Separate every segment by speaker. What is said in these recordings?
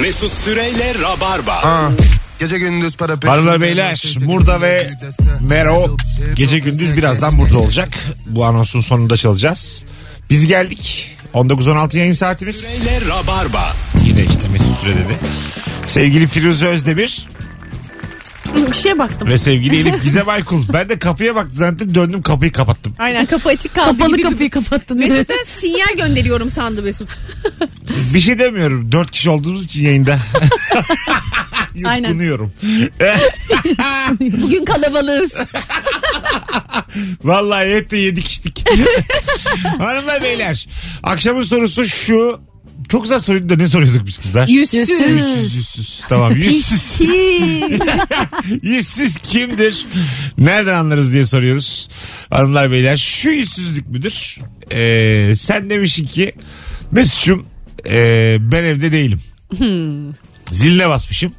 Speaker 1: Mesut Süreyle Rabarba.
Speaker 2: Ha. Gece gündüz para peşinde. şey
Speaker 3: Hanımlar beyler Murda ve Mero gece gündüz birazdan burada olacak. Bu anonsun sonunda çalacağız. Biz geldik. 19-16 yayın saatimiz.
Speaker 1: Süreyle Rabarba.
Speaker 3: Yine işte Mesut Süre dedi. Sevgili Firuze Özdemir
Speaker 4: Bir şeye baktım.
Speaker 3: ve sevgili Elif Gizem Aykul. Ben de kapıya baktım zannettim döndüm kapıyı kapattım.
Speaker 5: Aynen kapı açık kaldı.
Speaker 4: Kapalı
Speaker 5: gibi bir-
Speaker 4: kapıyı kapattın.
Speaker 5: Mesut'a sinyal gönderiyorum sandı Mesut.
Speaker 3: Bir şey demiyorum. Dört kişi olduğumuz için yayında.
Speaker 5: Aynen.
Speaker 3: Yutkunuyorum.
Speaker 5: Bugün kalabalığız.
Speaker 3: Vallahi hep de yedik içtik. Hanımlar beyler. Akşamın sorusu şu. Çok güzel soruydu da ne soruyorduk biz kızlar?
Speaker 5: Yüzsüz.
Speaker 3: Yüzsüz yüzsüz. Tamam yüzsüz. yüzsüz kimdir? Nereden anlarız diye soruyoruz. Hanımlar beyler şu yüzsüzlük müdür? Ee, sen demişsin ki Mesut'cum ee, ben evde değilim. Ziline basmışım.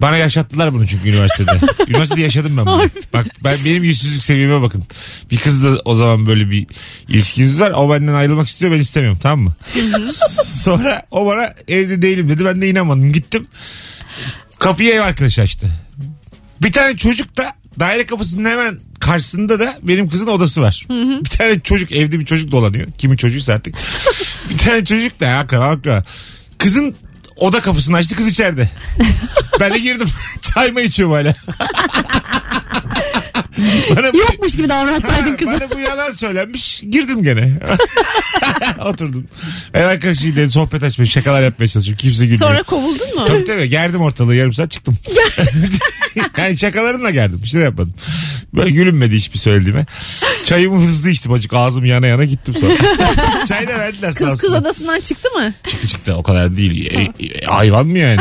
Speaker 3: Bana yaşattılar bunu çünkü üniversitede. üniversitede yaşadım ben bunu. Bak ben benim yüzsüzlük seviyeme bakın. Bir kız da o zaman böyle bir ilişkiniz var. O benden ayrılmak istiyor ben istemiyorum tamam mı? Sonra o bana evde değilim dedi. Ben de inanmadım. Gittim. Kapıyı ev arkadaşı açtı. Bir tane çocuk da daire kapısının hemen karşısında da benim kızın odası var. Bir tane çocuk evde bir çocuk dolanıyor. Kimin çocuğuysa artık. bir tane çocuk da akraba akraba. Kızın oda kapısını açtı kız içeride. ben de girdim. Çay mı içiyorum hala? Bana bu-
Speaker 4: Yokmuş gibi davransaydın kızım.
Speaker 3: bana bu yalan söylenmiş. Girdim gene. Oturdum. Ev arkadaşıyla sohbet açmaya, şakalar yapmaya çalışıyorum. Kimse gülmüyor.
Speaker 5: Sonra kovuldun mu?
Speaker 3: Tabii tabii gerdim ortalığı yarım saat çıktım. yani şakalarımla gerdim. Bir şey de yapmadım. Böyle gülünmedi hiçbir söylediğime. Çayımı hızlı içtim acık ağzım yana yana gittim sonra. Çay da verdiler sağ
Speaker 5: Kız kız
Speaker 3: olsunlar.
Speaker 5: odasından çıktı mı?
Speaker 3: Çıktı çıktı o kadar değil. E, e, hayvan mı yani?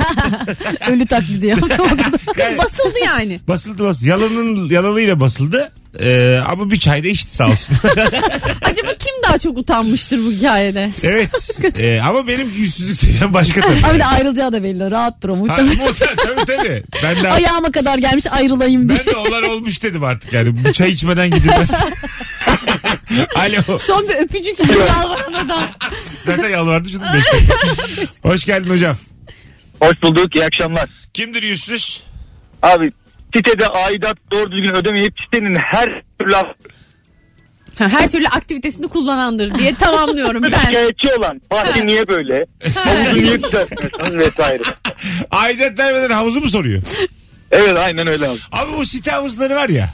Speaker 4: Ölü taklidi yaptım.
Speaker 5: Kız basıldı yani.
Speaker 3: basıldı basıldı. Yalanın, yalanıyla basıldı. Ee, ama bir çay da içti sağ olsun.
Speaker 5: Acaba kim daha çok utanmıştır bu hikayede?
Speaker 3: evet. Ee, ama benim yüzsüzlük seviyem başka tabii.
Speaker 4: Abi de ayrılacağı da belli. Rahattır o
Speaker 3: Ha,
Speaker 4: muhtemelen.
Speaker 3: muhtemelen tabii tabii. Ben de
Speaker 4: Ayağıma kadar gelmiş ayrılayım diye.
Speaker 3: Ben de onlar olmuş dedim artık yani. Bir çay içmeden gidilmez. Alo.
Speaker 5: Son bir öpücük için yalvaran adam.
Speaker 3: Zaten yalvardım canım beş dakika. Hoş geldin hocam.
Speaker 6: Hoş bulduk iyi akşamlar.
Speaker 3: Kimdir yüzsüz?
Speaker 6: Abi sitede aidat doğru düzgün ödemeyip sitenin her türlü
Speaker 5: Ha, Her türlü aktivitesini kullanandır diye tamamlıyorum ben.
Speaker 6: şikayetçi olan bahsi niye böyle? Havuzu niye düzeltmiyorsunuz vesaire.
Speaker 3: Aidat vermeden havuzu mu soruyor?
Speaker 6: Evet aynen öyle abi.
Speaker 3: Abi bu site havuzları var ya.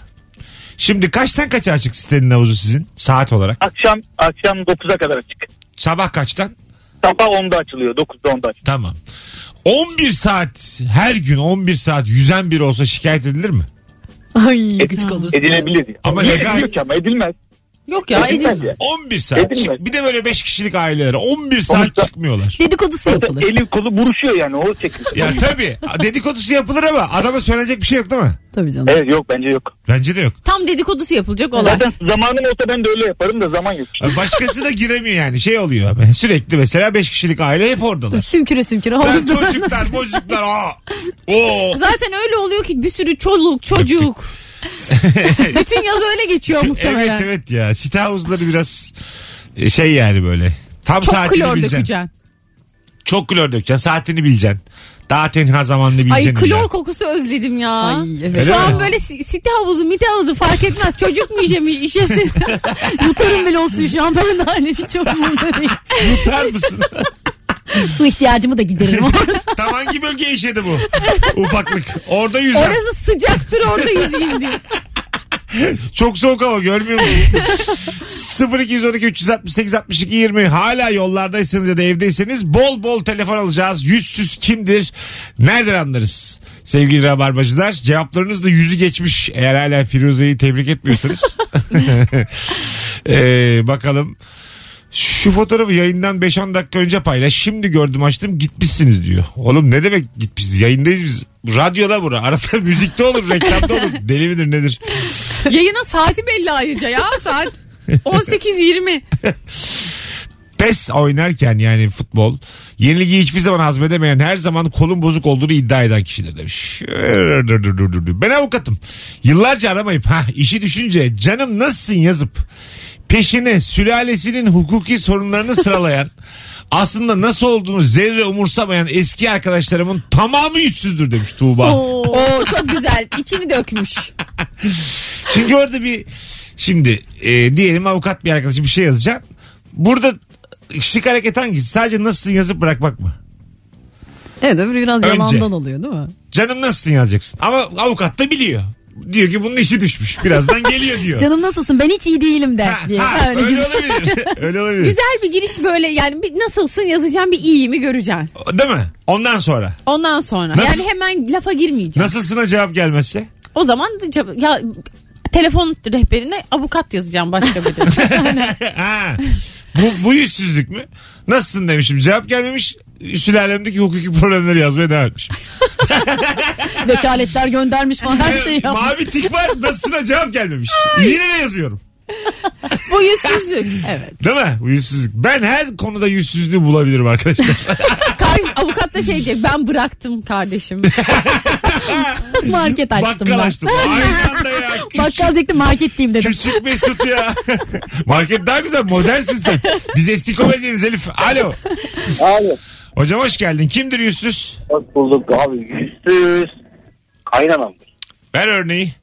Speaker 3: Şimdi kaçtan kaça açık sitenin havuzu sizin saat olarak?
Speaker 6: Akşam akşam 9'a kadar açık.
Speaker 3: Sabah kaçtan?
Speaker 6: Sabah 10'da açılıyor 9'da 10'da açılıyor.
Speaker 3: Tamam. 11 saat her gün 11 saat yüzen biri olsa şikayet edilir mi?
Speaker 4: Ay gıcık olursun.
Speaker 6: Edilebilir.
Speaker 3: Ama
Speaker 6: Niye
Speaker 3: legal-
Speaker 6: ediliyor ki ama edilmez.
Speaker 5: Yok ya
Speaker 6: edilmez
Speaker 5: edin.
Speaker 6: ya.
Speaker 3: 11 saat.
Speaker 6: Edilmez.
Speaker 3: Çık- Bir de böyle 5 kişilik aileler 11 saat
Speaker 6: Sonuçta-
Speaker 3: çıkmıyorlar.
Speaker 4: Dedikodusu yapılır.
Speaker 6: Eli kolu buruşuyor yani o şekilde.
Speaker 3: Ya tabii dedikodusu yapılır ama adama söylenecek bir şey yok değil mi?
Speaker 4: Tabii canım.
Speaker 6: Evet yok bence yok.
Speaker 3: Bence de yok.
Speaker 5: Tam dedikodusu yapılacak olay.
Speaker 6: Zaten zamanım olsa ben de öyle yaparım da zaman yok.
Speaker 3: Başkası da giremiyor yani şey oluyor abi. Sürekli mesela 5 kişilik aile hep oradalar.
Speaker 4: Sümküre sümküre
Speaker 3: Ben
Speaker 4: havuzda.
Speaker 3: çocuklar bocuklar aa. Oo.
Speaker 5: Zaten öyle oluyor ki bir sürü çoluk çocuk. Bütün yaz öyle geçiyor muhtemelen.
Speaker 3: Evet evet ya site havuzları biraz e, şey yani böyle. Tam
Speaker 5: Çok
Speaker 3: saatini
Speaker 5: klor
Speaker 3: bileceksin.
Speaker 5: dökeceksin.
Speaker 3: Çok klor dökeceksin saatini bileceksin. Daha tenha zamanını bileceksin.
Speaker 5: Ay klor
Speaker 3: illa.
Speaker 5: kokusu özledim ya.
Speaker 4: Ay, evet.
Speaker 3: Öyle
Speaker 5: Şu an
Speaker 3: mi?
Speaker 5: böyle si- site havuzu, mite havuzu fark etmez. Çocuk mu işemiş, işesin.
Speaker 4: Yutarım bile olsun şu an ben de ailenin çok umurumda değil.
Speaker 3: Yutar mısın?
Speaker 4: Su ihtiyacımı da gideririm.
Speaker 3: Tam hangi bölge işedi bu? Ufaklık. Orada yüzer.
Speaker 5: Orası sıcaktır orada yüzeyim diye.
Speaker 3: Çok soğuk hava görmüyor musun? 0212 368 62 20 hala yollardaysanız ya da evdeyseniz bol bol telefon alacağız. Yüzsüz kimdir? Nereden anlarız? Sevgili Rabarbacılar cevaplarınız da yüzü geçmiş. Eğer hala Firuze'yi tebrik etmiyorsanız. Ee, bakalım. Şu fotoğrafı yayından 5-10 dakika önce paylaş. Şimdi gördüm açtım gitmişsiniz diyor. Oğlum ne demek gitmişsiniz? Yayındayız biz. Radyoda bura. Arada müzikte olur, reklamda olur. Deli midir nedir?
Speaker 5: Yayının saati belli ayrıca ya saat 18.20.
Speaker 3: PES oynarken yani futbol yenilgiyi hiçbir zaman hazmedemeyen her zaman kolun bozuk olduğunu iddia eden kişidir demiş. Ben avukatım. Yıllarca aramayıp ha işi düşünce canım nasılsın yazıp peşine sülalesinin hukuki sorunlarını sıralayan Aslında nasıl olduğunu zerre umursamayan eski arkadaşlarımın tamamı yüzsüzdür demiş Tuğba.
Speaker 5: Oo çok güzel. İçini dökmüş.
Speaker 3: Çünkü orada bir şimdi e, diyelim avukat bir arkadaşı bir şey yazacak. Burada şık hareket hangisi? Sadece nasılsın yazıp bırakmak mı?
Speaker 4: Evet öbürü biraz
Speaker 3: Önce.
Speaker 4: yalandan oluyor değil mi?
Speaker 3: Canım nasılsın yazacaksın. Ama avukat da biliyor. Diyor ki bunun işi düşmüş. Birazdan geliyor diyor.
Speaker 4: Canım nasılsın ben hiç iyi değilim de
Speaker 3: Ha,
Speaker 4: diye.
Speaker 3: ha,
Speaker 4: Öyle
Speaker 3: öyle,
Speaker 4: güzel.
Speaker 3: olabilir. öyle olabilir.
Speaker 5: Güzel bir giriş böyle yani bir nasılsın yazacağım bir iyiyimi göreceksin.
Speaker 3: Değil mi? Ondan sonra.
Speaker 5: Ondan sonra.
Speaker 3: Nasıl-
Speaker 5: Yani hemen lafa girmeyeceksin.
Speaker 3: Nasılsına cevap gelmezse?
Speaker 5: O zaman da cevap- ya telefon rehberine avukat yazacağım başka bir de.
Speaker 3: E, ha. Bu, bu yüzsüzlük mü? Nasılsın demişim. Cevap gelmemiş. Sülalemdeki hukuki problemleri yazmaya devam etmiş.
Speaker 4: Vekaletler göndermiş falan her
Speaker 3: Ee,
Speaker 4: şey yapmış.
Speaker 3: Mavi tik var. Nasılsına cevap gelmemiş. Yine de yazıyorum.
Speaker 5: Bu yüzsüzlük. Evet.
Speaker 3: Değil mi? Bu yüzsüzlük. Ben her konuda yüzsüzlüğü bulabilirim arkadaşlar.
Speaker 5: Kar- avukat da şey diyecek ben bıraktım kardeşim.
Speaker 4: Market açtım ben.
Speaker 3: Bakkal açtım. Aynı anda ya. Küçük,
Speaker 4: Bakkal diyecektim marketteyim dedim.
Speaker 3: küçük Mesut ya. Market daha güzel. Modern sistem. Biz eski komedyeniz Elif. Alo.
Speaker 6: Abi
Speaker 3: Hocam hoş geldin. Kimdir yüzsüz?
Speaker 6: bak bulduk abi yüzsüz kaynanamdır.
Speaker 3: Ver örneği.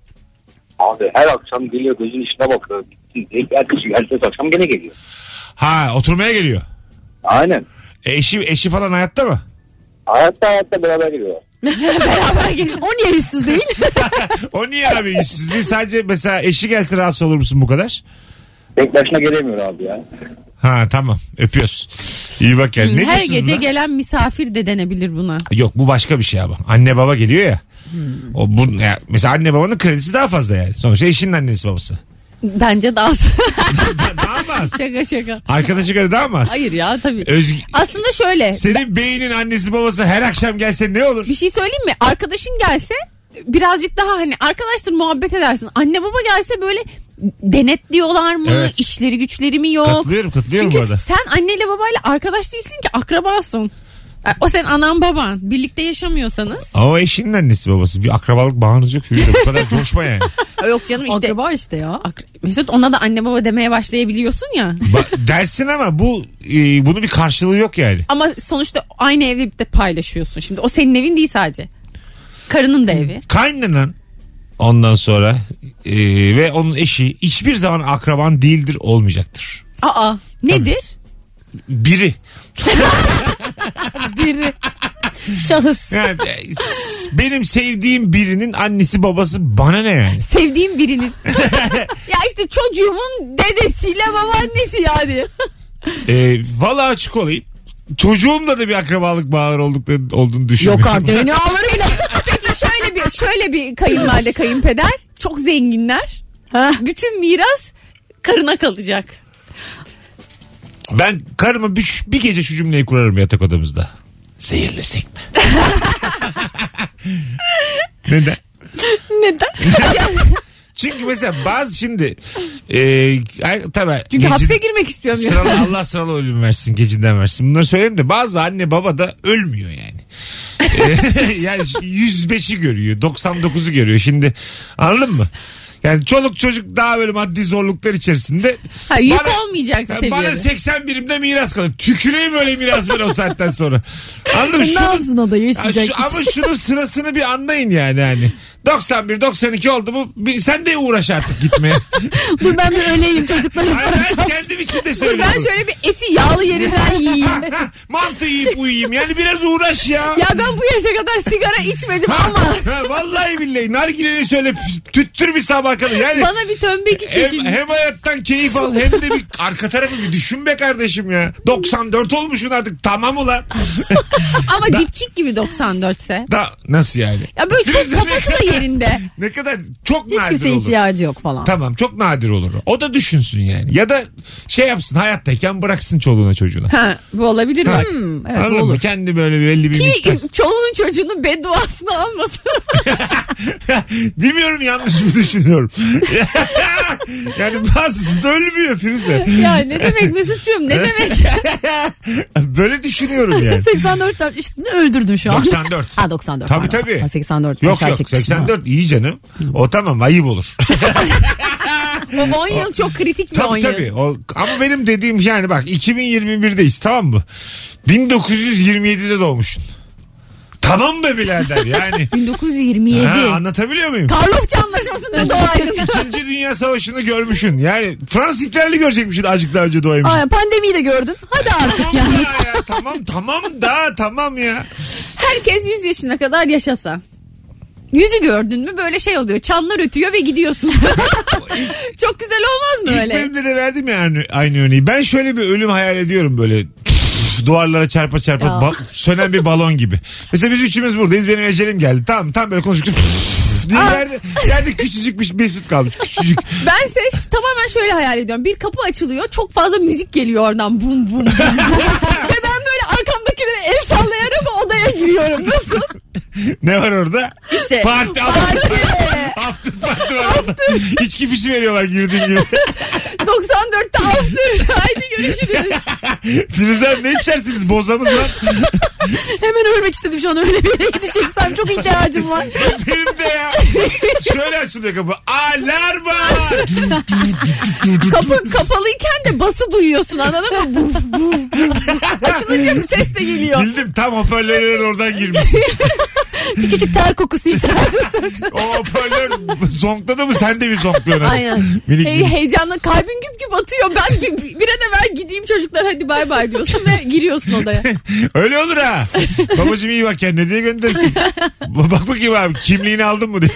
Speaker 6: Abi her akşam geliyor gözün içine bakıyor. Gittin diye. Ertesi, ertesi akşam gene geliyor.
Speaker 3: Ha oturmaya geliyor.
Speaker 6: Aynen.
Speaker 3: E, eşi, eşi falan hayatta mı?
Speaker 6: Hayatta hayatta beraber gidiyor.
Speaker 4: Beraber geliyor. O niye yüzsüz değil?
Speaker 3: O niye abi yüzsüzlüğü? Sadece mesela eşi gelse rahatsız olur musun bu kadar?
Speaker 6: Tek başına gelemiyor abi ya.
Speaker 3: Ha tamam öpüyoruz. İyi bak kendine. Ne
Speaker 5: Her
Speaker 3: diyorsun
Speaker 5: gece
Speaker 3: buna?
Speaker 5: gelen misafir de denebilir buna.
Speaker 3: Yok bu başka bir şey ama. Anne baba geliyor ya. O bu ya, mesela anne babanın kredisi daha fazla yani. Sonuçta eşinin annesi babası.
Speaker 5: Bence daha
Speaker 3: daha mı az?
Speaker 5: şaka şaka.
Speaker 3: Arkadaşı göre daha mı az?
Speaker 5: Hayır ya tabii.
Speaker 3: Özgü-
Speaker 5: Aslında şöyle
Speaker 3: Senin beynin annesi babası her akşam gelse ne olur?
Speaker 5: bir şey söyleyeyim mi? Arkadaşın gelse birazcık daha hani arkadaştır muhabbet edersin. Anne baba gelse böyle denetliyorlar mı?
Speaker 3: Evet.
Speaker 5: İşleri güçleri mi yok?
Speaker 3: Katılıyorum katılıyorum bu arada.
Speaker 5: Çünkü sen anneyle babayla arkadaş değilsin ki akrabasın. Yani O senin anan baban. Birlikte yaşamıyorsanız.
Speaker 3: Ama o eşinin annesi babası. Bir akrabalık bağınız yok. Firuze. Bu kadar coşma yani.
Speaker 5: Yok canım işte.
Speaker 4: Akraba işte ya.
Speaker 5: Akra- Mesut ona da anne baba demeye başlayabiliyorsun ya.
Speaker 3: Ba- dersin ama bu e, bunun bir karşılığı yok yani.
Speaker 5: Ama sonuçta aynı evde bir de paylaşıyorsun. Şimdi o senin evin değil sadece. Karının da evi.
Speaker 3: Kaynanan ondan sonra e, ve onun eşi hiçbir zaman akraban değildir olmayacaktır.
Speaker 5: Aa nedir?
Speaker 3: Biri.
Speaker 4: Biri. Şahıs.
Speaker 3: Yani, e, s- benim sevdiğim birinin annesi babası bana ne yani?
Speaker 5: Sevdiğim birinin. ya işte çocuğumun dedesiyle babaannesi yani.
Speaker 3: E, vallahi açık olayım. Çocuğumla da bir akrabalık bağları oldukları, olduğunu
Speaker 4: Yok
Speaker 3: düşünmüyorum.
Speaker 4: artık DNA'ları bile.
Speaker 5: Peki şöyle bir şöyle bir kayınvalide kayınpeder çok zenginler.
Speaker 4: Ha.
Speaker 5: Bütün miras karına kalacak.
Speaker 3: Ben karıma bir, bir gece şu cümleyi kurarım yatak odamızda. Zehirlesek mi? Neden?
Speaker 5: Neden?
Speaker 3: Çünkü mesela bazı şimdi e, ay- tabii
Speaker 5: Çünkü
Speaker 3: gece-
Speaker 5: hapse girmek istiyorum ya.
Speaker 3: Sıralı, Allah sıralı ölüm versin gecinden versin. Bunları söyleyeyim de bazı anne baba da ölmüyor yani. Ee, yani 105'i görüyor 99'u görüyor şimdi anladın mı? Yani çoluk çocuk daha böyle maddi zorluklar içerisinde.
Speaker 5: Ha, yük
Speaker 3: Bana-
Speaker 5: olmayacak
Speaker 3: Yani
Speaker 5: seviyede.
Speaker 3: Bana 80 birimde miras kalır. Tüküreyim öyle miras ben o saatten sonra. Anladın mı?
Speaker 4: Ne
Speaker 3: Şunun-
Speaker 4: yapsın o da
Speaker 3: Ya
Speaker 4: yaşayacak.
Speaker 3: şu, ama şunun sırasını bir anlayın yani hani. 91 92 oldu mu bir- sen de uğraş artık gitmeye.
Speaker 4: Dur ben bir öleyim çocuklarım.
Speaker 3: Hayır, ben kendim için de
Speaker 5: Dur
Speaker 3: söylüyorum.
Speaker 5: ben şöyle bir eti yağlı yerinden yiyeyim.
Speaker 3: Ha, Mantı yiyip uyuyayım. Yani biraz uğraş ya.
Speaker 5: Ya ben bu yaşa kadar sigara içmedim
Speaker 3: Ha,
Speaker 5: ama
Speaker 3: ha, vallahi billahi nargileni söyle püf, tüttür bir sabah kadar. Yani
Speaker 5: bana bir tömbeki çekin.
Speaker 3: hem, hem hayattan keyif al hem de bir arka tarafı bir düşün be kardeşim ya. 94 olmuşsun artık tamam ulan.
Speaker 5: Ama dipçik gibi 94 ise.
Speaker 3: Da, nasıl yani?
Speaker 5: Ya böyle çok
Speaker 3: Firuze ne
Speaker 5: kafası da
Speaker 3: kadar-
Speaker 5: yerinde.
Speaker 3: Ne kadar çok
Speaker 4: Hiç
Speaker 3: nadir
Speaker 4: kimseye
Speaker 3: olur.
Speaker 4: şey ihtiyacı yok falan.
Speaker 3: Tamam çok nadir olur. O da düşünsün yani. Ya da şey yapsın hayattayken bıraksın çoluğuna çocuğuna.
Speaker 5: Ha, bu olabilir bak.
Speaker 4: Hmm, evet bu
Speaker 3: Anladın mı?
Speaker 4: olur.
Speaker 3: Kendi böyle bir belli bir miktar.
Speaker 5: Ki çoluğun çocuğunun bedduasını almasın.
Speaker 3: Bilmiyorum yanlış mı düşünüyorum. yani bazısı da ölmüyor Firuze.
Speaker 5: ya ne demek Mesut'cum ne demek?
Speaker 3: Böyle düşünüyorum yani.
Speaker 4: 84 tane üstünü öldürdün şu an.
Speaker 3: 94.
Speaker 4: Ha 94.
Speaker 3: Tabii,
Speaker 4: pardon.
Speaker 3: tabii.
Speaker 4: Ha, 84.
Speaker 3: Yok
Speaker 4: aşağı
Speaker 3: yok
Speaker 4: çekmişsin.
Speaker 3: 84 iyi canım. O tamam ayıp olur.
Speaker 5: O 10 yıl çok kritik bir 10
Speaker 3: Tabii
Speaker 5: yıl.
Speaker 3: tabii. O, ama benim dediğim şey yani bak 2021'deyiz tamam mı? 1927'de doğmuşsun. Tamam be birader yani.
Speaker 4: 1927.
Speaker 3: ha, anlatabiliyor muyum?
Speaker 5: Karlofça anlaşmasında doğaydın.
Speaker 3: İkinci Dünya Savaşı'nı görmüşsün. Yani Fransız ihtilali görecekmişsin azıcık daha önce doğaymışsın.
Speaker 5: Aa, pandemiyi de gördüm. Hadi artık ya.
Speaker 3: Tamam da ya, tamam tamam da tamam ya.
Speaker 5: Herkes 100 yaşına kadar yaşasa. Yüzü gördün mü böyle şey oluyor. Çanlar ötüyor ve gidiyorsun. Çok güzel olmaz mı
Speaker 3: İlk
Speaker 5: öyle?
Speaker 3: bölümde de verdim ya aynı, aynı örneği. Ben şöyle bir ölüm hayal ediyorum böyle duvarlara çarpa çarpa
Speaker 4: Ya.
Speaker 3: ba- sönen bir balon gibi. Mesela biz üçümüz buradayız benim ecelim geldi. Tam tam böyle konuştuk. diye yerde, yerde küçücük bir mesut kalmış küçücük.
Speaker 5: Bense ş- tamamen şöyle hayal ediyorum. Bir kapı açılıyor. Çok fazla müzik geliyor oradan. Bum bum bum. bum. ve ben böyle arkamdakilere el sallayarak odaya giriyorum. Nasıl?
Speaker 3: Ne var orada?
Speaker 5: İşte.
Speaker 3: Parti.
Speaker 5: Parti.
Speaker 3: After parti var orada. İçki fişi veriyorlar girdiğin gibi.
Speaker 5: 94'te after. Haydi görüşürüz.
Speaker 3: Filizler ne içersiniz? Bozamız var.
Speaker 4: Hemen ölmek istedim şu an öyle bir yere gideceksem çok ihtiyacım var.
Speaker 3: Benim de ya. Şöyle açılıyor kapı. Alarma.
Speaker 5: Kapı kapalıyken de bası duyuyorsun anladın mı? Buf buf buf. Açılınca bir ses de geliyor.
Speaker 3: Bildim tam hoparlörlerin oradan girmiş.
Speaker 4: Bir küçük ter kokusu içeride.
Speaker 3: O hoparlör zonkladı mı sen de bir zonkluyorsun.
Speaker 5: Aynen.
Speaker 3: Minik
Speaker 5: Hey,
Speaker 3: minik.
Speaker 5: heyecanla kalbin güp güp atıyor. Ben bir- bir an evvel gideyim çocuklar hadi bay bay diyorsun ve giriyorsun odaya.
Speaker 3: Öyle olur ha. Babacım iyi bak kendine diye göndersin. Ba- bak bakayım abi kimliğini aldın mı diye.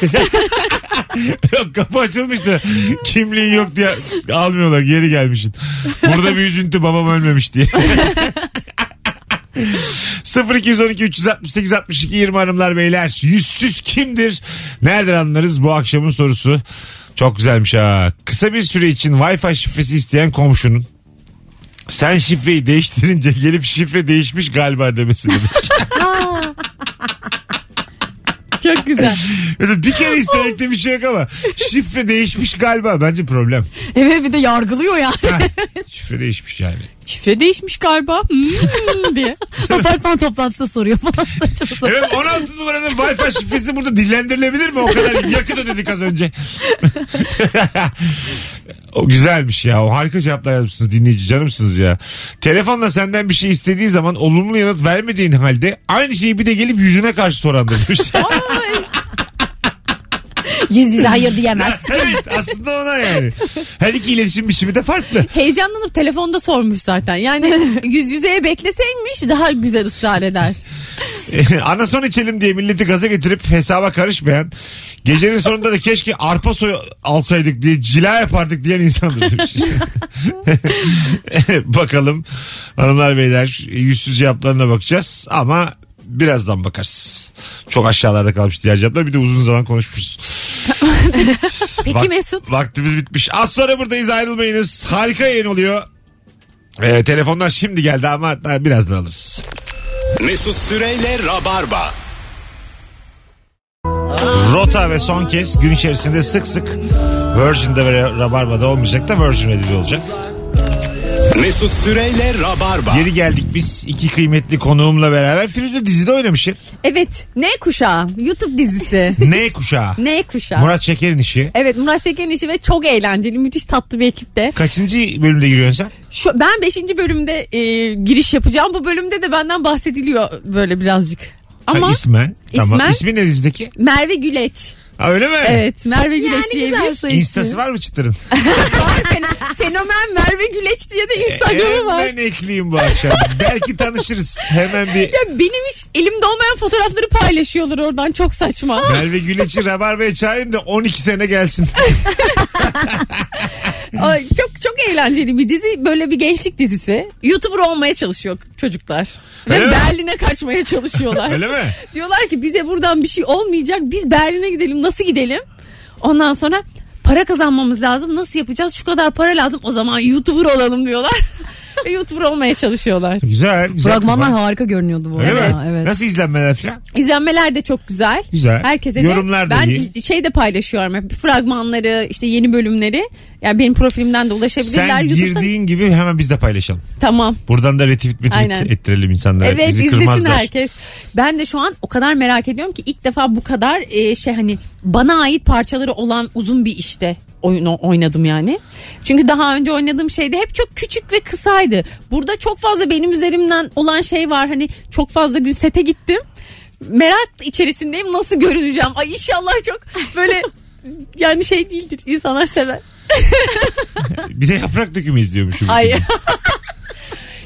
Speaker 3: yok kapı açılmıştı. Kimliğin yok diye almıyorlar geri gelmişsin. Burada bir üzüntü babam ölmemiş diye. 0212 368 62 20 hanımlar beyler. Yüzsüz kimdir? Nereden anlarız bu akşamın sorusu? Çok güzelmiş ha. Kısa bir süre için Wi-Fi şifresi isteyen komşunun sen şifreyi değiştirince gelip şifre değişmiş galiba demesi demek.
Speaker 5: Çok güzel.
Speaker 3: Mesela bir kere istemekte bir şey yok ama şifre değişmiş galiba bence problem.
Speaker 4: Evet bir de yargılıyor ya.
Speaker 3: Ha, şifre değişmiş yani.
Speaker 5: Şifre değişmiş galiba. Hmm, diye.
Speaker 4: Apartman toplantısında soruyor falan saçma sapan.
Speaker 3: Evet 16 numaranın Wi-Fi şifresi burada dillendirilebilir mi? O kadar yakıt ödedik az önce. o güzelmiş ya. O harika cevaplar yazmışsınız dinleyici canımsınız ya. Telefonla senden bir şey istediği zaman olumlu yanıt vermediğin halde aynı şeyi bir de gelip yüzüne karşı soran da demiş.
Speaker 4: Yüz yüze hayır diyemez.
Speaker 3: evet aslında ona yani. Her iki iletişim biçimi de farklı.
Speaker 5: Heyecanlanıp telefonda sormuş zaten. Yani yüz yüzeye bekleseymiş daha güzel ısrar eder.
Speaker 3: Anason içelim diye milleti gaza getirip hesaba karışmayan gecenin sonunda da keşke arpa soyu alsaydık diye cila yapardık diyen insandır demiş. Bakalım hanımlar beyler yüzsüz cevaplarına bakacağız ama birazdan bakarız. Çok aşağılarda kalmış diğer cevaplar bir de uzun zaman konuşmuşuz.
Speaker 5: Peki
Speaker 3: Vak-
Speaker 5: Mesut?
Speaker 3: Vaktimiz bitmiş. Az sonra buradayız ayrılmayınız. Harika yayın oluyor. Ee, telefonlar şimdi geldi ama daha birazdan alırız.
Speaker 1: Mesut Süreyle Rabarba.
Speaker 3: Rota ve son kez gün içerisinde sık sık Virgin'de ve Rabarba'da olmayacak da Virgin Radio'da olacak.
Speaker 1: Mesut Süreyle Rabarba.
Speaker 3: Geri geldik biz iki kıymetli konuğumla beraber. Firuze dizide oynamış. ya.
Speaker 5: Evet. Ne kuşağı? YouTube dizisi.
Speaker 3: N kuşağı.
Speaker 5: Ne kuşağı?
Speaker 3: Murat Şeker'in işi.
Speaker 5: Evet Murat Şeker'in işi ve çok eğlenceli müthiş tatlı bir ekipte.
Speaker 3: Kaçıncı bölümde giriyorsun sen?
Speaker 5: Şu, ben 5. bölümde e, giriş yapacağım. Bu bölümde de benden bahsediliyor böyle birazcık. Ama
Speaker 3: Ha, ismen. Tamam.
Speaker 5: İsmen.
Speaker 3: İsmi ne dizideki?
Speaker 5: Merve Güleç.
Speaker 3: Ha, öyle mi?
Speaker 5: Evet Merve Güleç diye bir
Speaker 3: Instası var mı çıtırın?
Speaker 5: var. Fen- Fenomen Merve Güleç diye de
Speaker 3: E,
Speaker 5: Instagram'ı var.
Speaker 3: Hemen ekleyeyim bu akşam. Belki tanışırız. Hemen bir
Speaker 5: Ya benim hiç elimde olmayan fotoğrafları paylaşıyorlar oradan çok saçma.
Speaker 3: Merve Güleç'i Rabarba'ya çağırayım da 12 sene gelsin.
Speaker 5: Ay, çok çok eğlenceli bir dizi. Böyle bir gençlik dizisi. YouTuber olmaya çalışıyor çocuklar. Ve
Speaker 3: Öyle mi?
Speaker 5: Berlin'e kaçmaya çalışıyorlar.
Speaker 3: Öyle mi?
Speaker 5: Diyorlar ki bize buradan bir şey olmayacak. Biz Berlin'e gidelim. Nasıl gidelim? Ondan sonra para kazanmamız lazım. Nasıl yapacağız? Şu kadar para lazım. O zaman YouTuber olalım diyorlar. Ve YouTuber olmaya çalışıyorlar.
Speaker 3: Güzel. güzel
Speaker 4: Fragmanlar harika görünüyordu bu
Speaker 3: Öyle
Speaker 4: arada.
Speaker 3: mi?
Speaker 4: Evet.
Speaker 3: Nasıl izlenmeler falan?
Speaker 5: İzlenmeler de çok güzel.
Speaker 3: Güzel.
Speaker 5: Herkese
Speaker 3: Yorumlar
Speaker 5: de.
Speaker 3: da
Speaker 5: ben
Speaker 3: iyi.
Speaker 5: şey de paylaşıyorum. hep, Fragmanları, işte yeni bölümleri. Yani benim profilimden de ulaşabilirler.
Speaker 3: Sen
Speaker 5: YouTube'da-
Speaker 3: girdiğin gibi hemen biz de paylaşalım.
Speaker 5: Tamam.
Speaker 3: Buradan da retweet retweet
Speaker 5: Aynen.
Speaker 3: ettirelim insanlara.
Speaker 5: Evet
Speaker 3: Bizi
Speaker 5: izlesin
Speaker 3: kırmazlar.
Speaker 5: herkes. Ben de şu an o kadar merak ediyorum ki ilk defa bu kadar e, şey hani bana ait parçaları olan uzun bir işte oyun oynadım yani. Çünkü daha önce oynadığım şeyde hep çok küçük ve kısaydı. Burada çok fazla benim üzerimden olan şey var. Hani çok fazla gün sete gittim. Merak içerisindeyim nasıl görüneceğim. Ay inşallah çok böyle yani şey değildir. İnsanlar sever.
Speaker 3: Bir de yaprak dökümü izliyormuşum.
Speaker 5: Ay.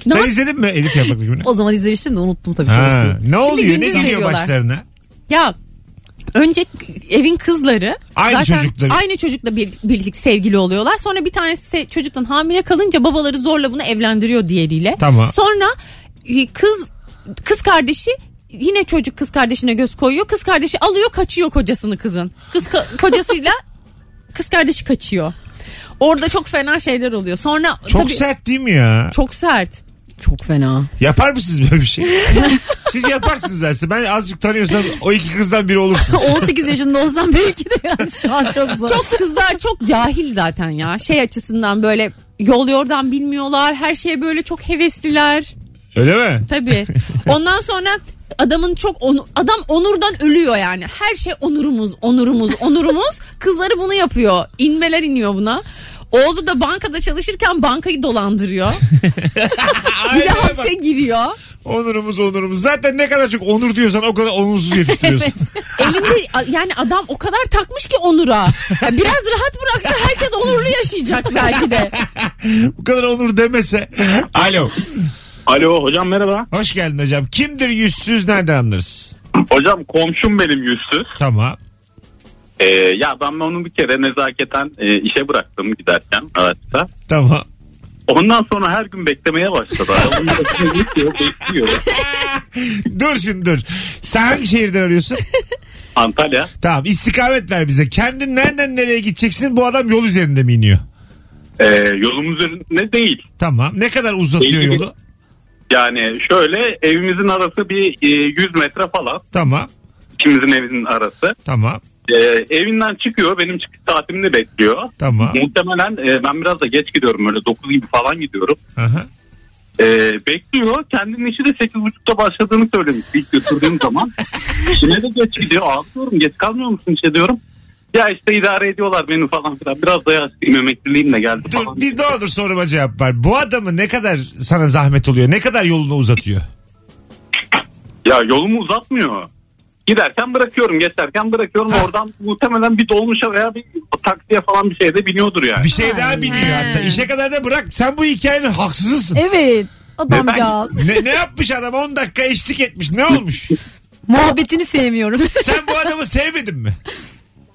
Speaker 5: Ne
Speaker 3: Sen
Speaker 5: yap-
Speaker 3: izledin mi Elif yaprak dökümünü?
Speaker 4: O zaman izlemiştim de unuttum tabii
Speaker 3: Ha,
Speaker 4: ki.
Speaker 3: ne oluyor? Ne
Speaker 5: gündüz
Speaker 3: geliyor
Speaker 5: veriyorlar.
Speaker 3: başlarına?
Speaker 5: Ya önce evin kızları
Speaker 3: Aynı
Speaker 5: zaten
Speaker 3: çocukla-
Speaker 5: aynı çocukla bir, birlik sevgili oluyorlar. Sonra bir tanesi se- çocuktan hamile kalınca babaları zorla bunu evlendiriyor diğeriyle.
Speaker 3: Tamam.
Speaker 5: Sonra e, kız kız kardeşi yine çocuk kız kardeşine göz koyuyor. Kız kardeşi alıyor kaçıyor kocasını kızın. Kız ka- kocasıyla kız kardeşi kaçıyor. Orada çok fena şeyler oluyor. Sonra
Speaker 3: Çok
Speaker 5: E, tabii
Speaker 3: sert değil mi ya?
Speaker 5: çok sert.
Speaker 4: Çok fena.
Speaker 3: Yapar mısınız böyle bir şey? Siz yaparsınız aslında. Ben azıcık tanıyorsam o iki kızdan biri olursunuz.
Speaker 4: 18 yaşında olsam belki de yani şu an çok zor.
Speaker 5: Çok kızlar çok cahil zaten ya. Şey açısından böyle yol yordan bilmiyorlar. Her şeye böyle çok hevesliler.
Speaker 3: Öyle mi?
Speaker 5: Tabii. Ondan sonra adamın çok onu- adam onurdan ölüyor yani. Her şey onurumuz, onurumuz, onurumuz. Kızları bunu yapıyor. İnmeler iniyor buna. Oğlu da bankada çalışırken bankayı dolandırıyor. bir de
Speaker 3: Aynen bak.
Speaker 5: hapse giriyor.
Speaker 3: Onurumuz onurumuz. Zaten ne kadar çok onur diyorsan o kadar onursuz yetiştiriyorsun.
Speaker 5: Elinde yani adam o kadar takmış ki onura. Ya biraz rahat bıraksa herkes onurlu yaşayacak belki de.
Speaker 3: Bu kadar onur demese. Alo.
Speaker 7: Alo hocam merhaba.
Speaker 3: Hoş geldin hocam. Kimdir yüzsüz nereden anlarız?
Speaker 7: Hocam komşum benim yüzsüz.
Speaker 3: Tamam.
Speaker 7: Ee, ya ben onu bir kere nezaketen e, işe bıraktım giderken araçta.
Speaker 3: Tamam.
Speaker 7: Ondan sonra her gün beklemeye başladı. Adamın başına geçiyor, bekliyor.
Speaker 3: Dur şimdi dur. Sen hangi şehirden arıyorsun?
Speaker 7: Antalya.
Speaker 3: Tamam istikamet ver bize. Kendin nereden nereye gideceksin? Bu adam yol üzerinde mi iniyor?
Speaker 7: Ee, yolum üzerinde değil.
Speaker 3: Tamam. Ne kadar uzatıyor
Speaker 7: Belli bir-
Speaker 3: yolu?
Speaker 7: Yani şöyle evimizin arası bir e, 100 metre falan.
Speaker 3: Tamam.
Speaker 7: İkimizin evinin arası.
Speaker 3: Tamam.
Speaker 7: Ee, evinden çıkıyor. Benim çıkış saatimi de bekliyor.
Speaker 3: Tamam.
Speaker 7: Muhtemelen e, ben biraz da geç gidiyorum. Öyle 9 gibi falan gidiyorum.
Speaker 3: Aha.
Speaker 7: Ee, bekliyor. Kendinin işi de 8.30'da başladığını söylemiş ilk götürdüğüm zaman. İşine de geç gidiyor. Abi diyorum geç kalmıyor musun işe diyorum. Ya işte idare ediyorlar beni falan filan. Biraz da yaşlıyım emekliliğimle geldi
Speaker 3: Dur
Speaker 7: falan.
Speaker 3: bir ne olur soruma cevap ver. Bu adamı ne kadar sana zahmet oluyor? Ne kadar yolunu uzatıyor?
Speaker 7: Ya yolumu uzatmıyor. Giderken bırakıyorum, geçerken bırakıyorum. Oradan muhtemelen bir dolmuşa veya bir taksiye falan bir şeyde biniyordur yani.
Speaker 3: Bir şey daha biniyor hatta. İşe kadar da bırak. Sen bu hikayenin haksızısın.
Speaker 4: Evet. Adamcağız.
Speaker 3: Ne, ne yapmış adam 10 dakika eşlik etmiş ne olmuş?
Speaker 4: Muhabbetini sevmiyorum.
Speaker 3: Sen bu adamı sevmedin mi?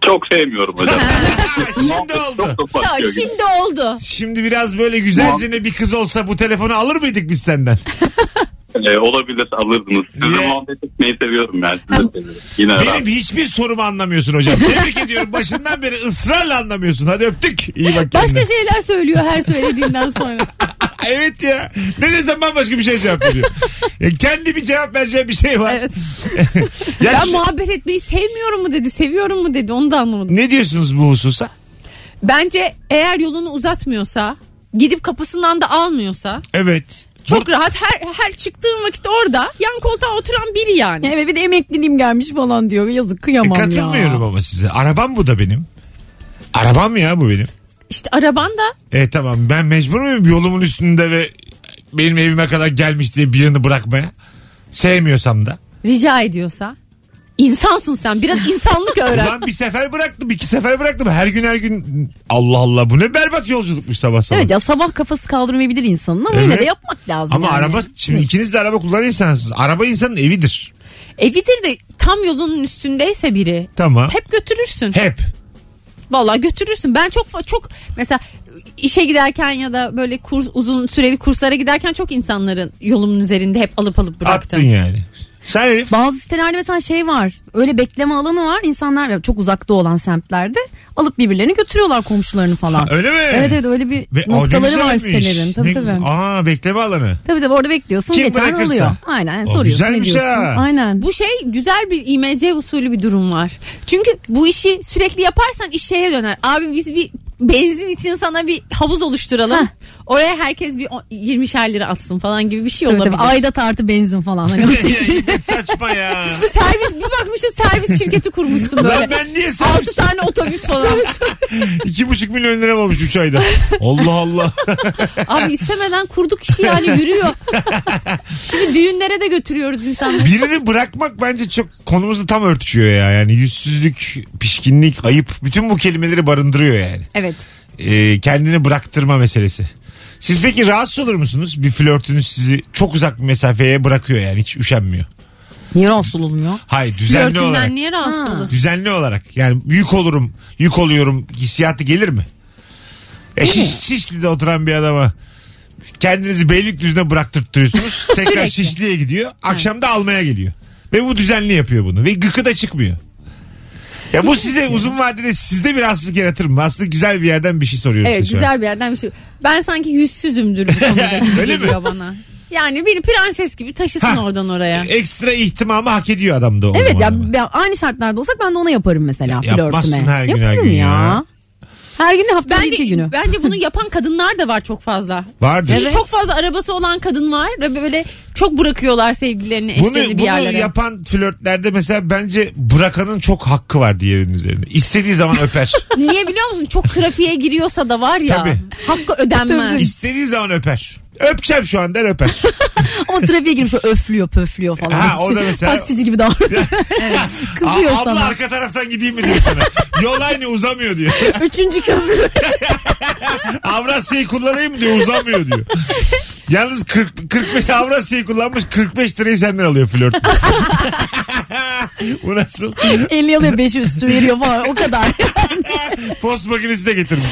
Speaker 7: Çok sevmiyorum hocam.
Speaker 3: Ha, şimdi oldu.
Speaker 7: Çok da
Speaker 5: Ya
Speaker 7: bakıyor.
Speaker 5: şimdi oldu.
Speaker 3: Şimdi biraz böyle güzelcene bir kız olsa bu telefonu alır mıydık biz senden?
Speaker 7: Ee, olabilir alırdınız. Sizinle
Speaker 3: Niye?
Speaker 7: muhabbet etmeyi seviyorum yani. Sizi de seviyorum. Yine
Speaker 3: Benim hiçbir sorumu anlamıyorsun hocam. Tebrik ediyorum. Başından beri ısrarla anlamıyorsun. Hadi öptük. İyi bak kendine.
Speaker 5: Başka şey- şeyler söylüyor her söylediğinden sonra.
Speaker 3: Evet ya. Ne desem bambaşka bir şey cevap veriyor. Ya kendi bir cevap vereceği bir şey var.
Speaker 5: Evet.
Speaker 3: Ya
Speaker 5: Ben
Speaker 3: şu-
Speaker 5: muhabbet etmeyi sevmiyorum mu dedi, seviyorum mu dedi onu da anlamadım.
Speaker 3: ne diyorsunuz bu hususa?
Speaker 5: Bence eğer yolunu uzatmıyorsa, gidip kapısından da almıyorsa
Speaker 3: Evet.
Speaker 5: çok rahat her her çıktığın vakit orada yan koltuğa oturan biri yani.
Speaker 4: evet bir de emekliliğim gelmiş falan diyor. Yazık kıyamam ya.
Speaker 3: E, Katılmıyorum ama size. Arabam bu da benim. Arabam ya bu benim.
Speaker 5: İşte araban da
Speaker 3: E tamam ben mecbur muyum yolumun üstünde ve benim evime kadar gelmiş diye birini bırakmaya? Sevmiyorsam da.
Speaker 5: rica ediyorsa insansın sen biraz insanlık öğren.
Speaker 3: Ulan bir sefer bıraktım iki sefer bıraktım her gün her gün Allah Allah bu ne berbat yolculukmuş sabah sabah.
Speaker 4: Evet ya sabah kafası kaldırmayabilir insanın ama
Speaker 3: Evet.
Speaker 4: yine de yapmak lazım
Speaker 3: Ama
Speaker 4: yani.
Speaker 3: araba şimdi ikiniz de araba kullanan insansınız. Araba insanın evidir.
Speaker 5: Evidir E, de tam yolunun üstündeyse biri
Speaker 3: Tamam. Hep.
Speaker 5: hep götürürsün. Vallahi götürürsün. Ben çok çok mesela işe giderken ya da böyle kurs uzun süreli kurslara giderken çok insanların yolumun üzerinde hep alıp alıp
Speaker 3: Attın
Speaker 5: bıraktım.
Speaker 3: yani. Sen Elif.
Speaker 4: Bazı sitelerde mesela şey var. Öyle bekleme alanı var. İnsanlar çok uzakta olan semtlerde alıp birbirlerini götürüyorlar komşularını falan.
Speaker 3: Öyle mi?
Speaker 4: Evet evet öyle bir
Speaker 3: Ve
Speaker 4: noktaları var
Speaker 3: güzelmiş.
Speaker 4: sitelerin. Tabii
Speaker 3: Ne
Speaker 4: tabii.
Speaker 3: güzel. Aa bekleme alanı.
Speaker 4: Tabii tabii orada bekliyorsun
Speaker 3: Kim
Speaker 4: geçen
Speaker 3: bırakırsa.
Speaker 4: alıyor. Aynen
Speaker 3: O
Speaker 4: soruyorsun
Speaker 3: güzelmiş
Speaker 4: ediyorsun.
Speaker 3: ha.
Speaker 4: Aynen.
Speaker 5: Bu şey güzel bir IMC usulü bir durum var. Çünkü bu işi sürekli yaparsan iş şeye döner. Abi biz bir benzin için sana bir havuz oluşturalım. Oraya herkes bir 20'şer lira atsın falan gibi bir şey
Speaker 4: Tabii
Speaker 5: olabilir.
Speaker 4: tabii, Aidat artı benzin falan. Hani o şey.
Speaker 3: Saçma ya.
Speaker 5: servis bir bakmışsın servis şirketi kurmuşsun
Speaker 3: Lan
Speaker 5: böyle.
Speaker 3: ben niye sen
Speaker 5: 6 tane otobüs falan.
Speaker 3: iki buçuk milyon lira olmuş üç ayda. Allah Allah.
Speaker 5: Abi istemeden kurduk işi yani yürüyor. Şimdi düğünlere de götürüyoruz insanları.
Speaker 3: Birini bırakmak bence çok konumuzu tam örtüşüyor ya. Yani yüzsüzlük, pişkinlik, ayıp bütün bu kelimeleri barındırıyor yani.
Speaker 5: Evet.
Speaker 3: Ee, kendini bıraktırma meselesi. Siz peki rahatsız olur musunuz? Bir flörtünüz sizi çok uzak bir mesafeye bırakıyor yani hiç üşenmiyor.
Speaker 4: Niye rahatsız olmuyor?
Speaker 3: Hayır düzenli olarak.
Speaker 5: Flörtünden niye rahatsız
Speaker 4: Ha.
Speaker 5: olasın?
Speaker 3: Düzenli olarak yani yük olurum, yük oluyorum hissiyatı gelir mi? E, şiş, şişli'de oturan bir adama kendinizi Beylikdüzü'ne bıraktırtıyorsunuz. Tekrar
Speaker 5: Sürekli.
Speaker 3: Şişli'ye gidiyor. Akşam da almaya geliyor. Ve bu düzenli yapıyor bunu. Ve gıkı da çıkmıyor. Ya bu size uzun vadede sizde bir rahatsızlık yaratır mı? Aslında güzel bir yerden bir şey soruyoruz.
Speaker 5: Evet
Speaker 3: size şu an.
Speaker 5: güzel bir yerden bir şey. Ben sanki yüzsüzümdür bu konuda gibi
Speaker 3: Öyle mi?
Speaker 5: geliyor bana. Yani beni prenses gibi taşısın
Speaker 3: Ha.
Speaker 5: oradan oraya.
Speaker 3: Ekstra ihtimamı hak ediyor adam da. E, o
Speaker 4: Evet ya,
Speaker 3: numarada.
Speaker 4: ya aynı şartlarda olsak ben de ona yaparım mesela
Speaker 3: Ya- yapmazsın
Speaker 4: flörtüme.
Speaker 3: her gün, her
Speaker 4: Yaparım
Speaker 3: gün
Speaker 4: ya.
Speaker 3: ya.
Speaker 4: Her gün de haftanın
Speaker 5: Bence
Speaker 4: iki günü.
Speaker 5: bence bunu yapan kadınlar da var çok fazla.
Speaker 3: Vardır.
Speaker 5: Çünkü Çok fazla arabası olan kadın var ve böyle çok bırakıyorlar sevgililerini eşlerini
Speaker 3: Bunu,
Speaker 5: bir
Speaker 3: bunu
Speaker 5: yerlere.
Speaker 3: yapan flörtlerde mesela bence bırakanın çok hakkı var diğerinin üzerinde. İstediği zaman öper.
Speaker 5: Niye biliyor musun? Çok trafiğe giriyorsa da var ya
Speaker 3: Tabii.
Speaker 5: hakkı ödenmez.
Speaker 3: İstediği zaman öper. Öpeceğim şu anda öper.
Speaker 4: Ama trafiğe girip şöyle şey öflüyor pöflüyor falan.
Speaker 3: Ha, o da mesela-
Speaker 4: Taksici gibi davranıyor. Kızıyor
Speaker 3: Aa, abla
Speaker 4: sana.
Speaker 3: arka taraftan gideyim mi diyor sana. Yol aynı uzamıyor diyor.
Speaker 4: Üçüncü köprü.
Speaker 3: Avrasya'yı kullanayım mı diyor uzamıyor diyor. Yalnız 40, 45 Avrasya'yı kullanmış 45 lirayı senden alıyor flört. Bu nasıl?
Speaker 4: 50 alıyor 5 üstü veriyor falan o kadar.
Speaker 3: Post makinesi de getirmiş.